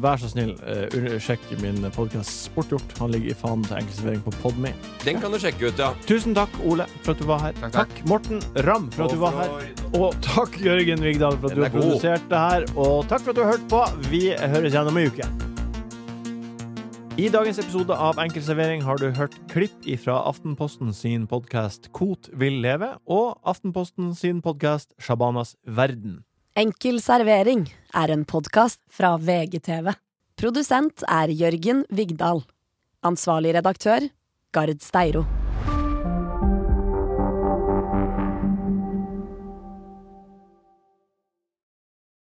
vær så snill, eh, un- sjekk min podkast Sportgjort. Han ligger i fanen til enkeltservering på Podme. Den kan du sjekke ut, ja. Tusen takk, Ole, for at du var her. Takk, Morten Ramm, for at du var her. Og takk, Jørgen Vigdal, for at Den du er har god. produsert det her. Og takk for at du har hørt på. Vi høres igjen om ei uke. I dagens episode av Enkeltservering har du hørt klipp ifra Aftenposten sin podkast Kot vil leve og Aftenposten sin podkast Shabanas verden. Enkel servering er en podkast fra VGTV. Produsent er Jørgen Vigdal. Ansvarlig redaktør Gard Steiro.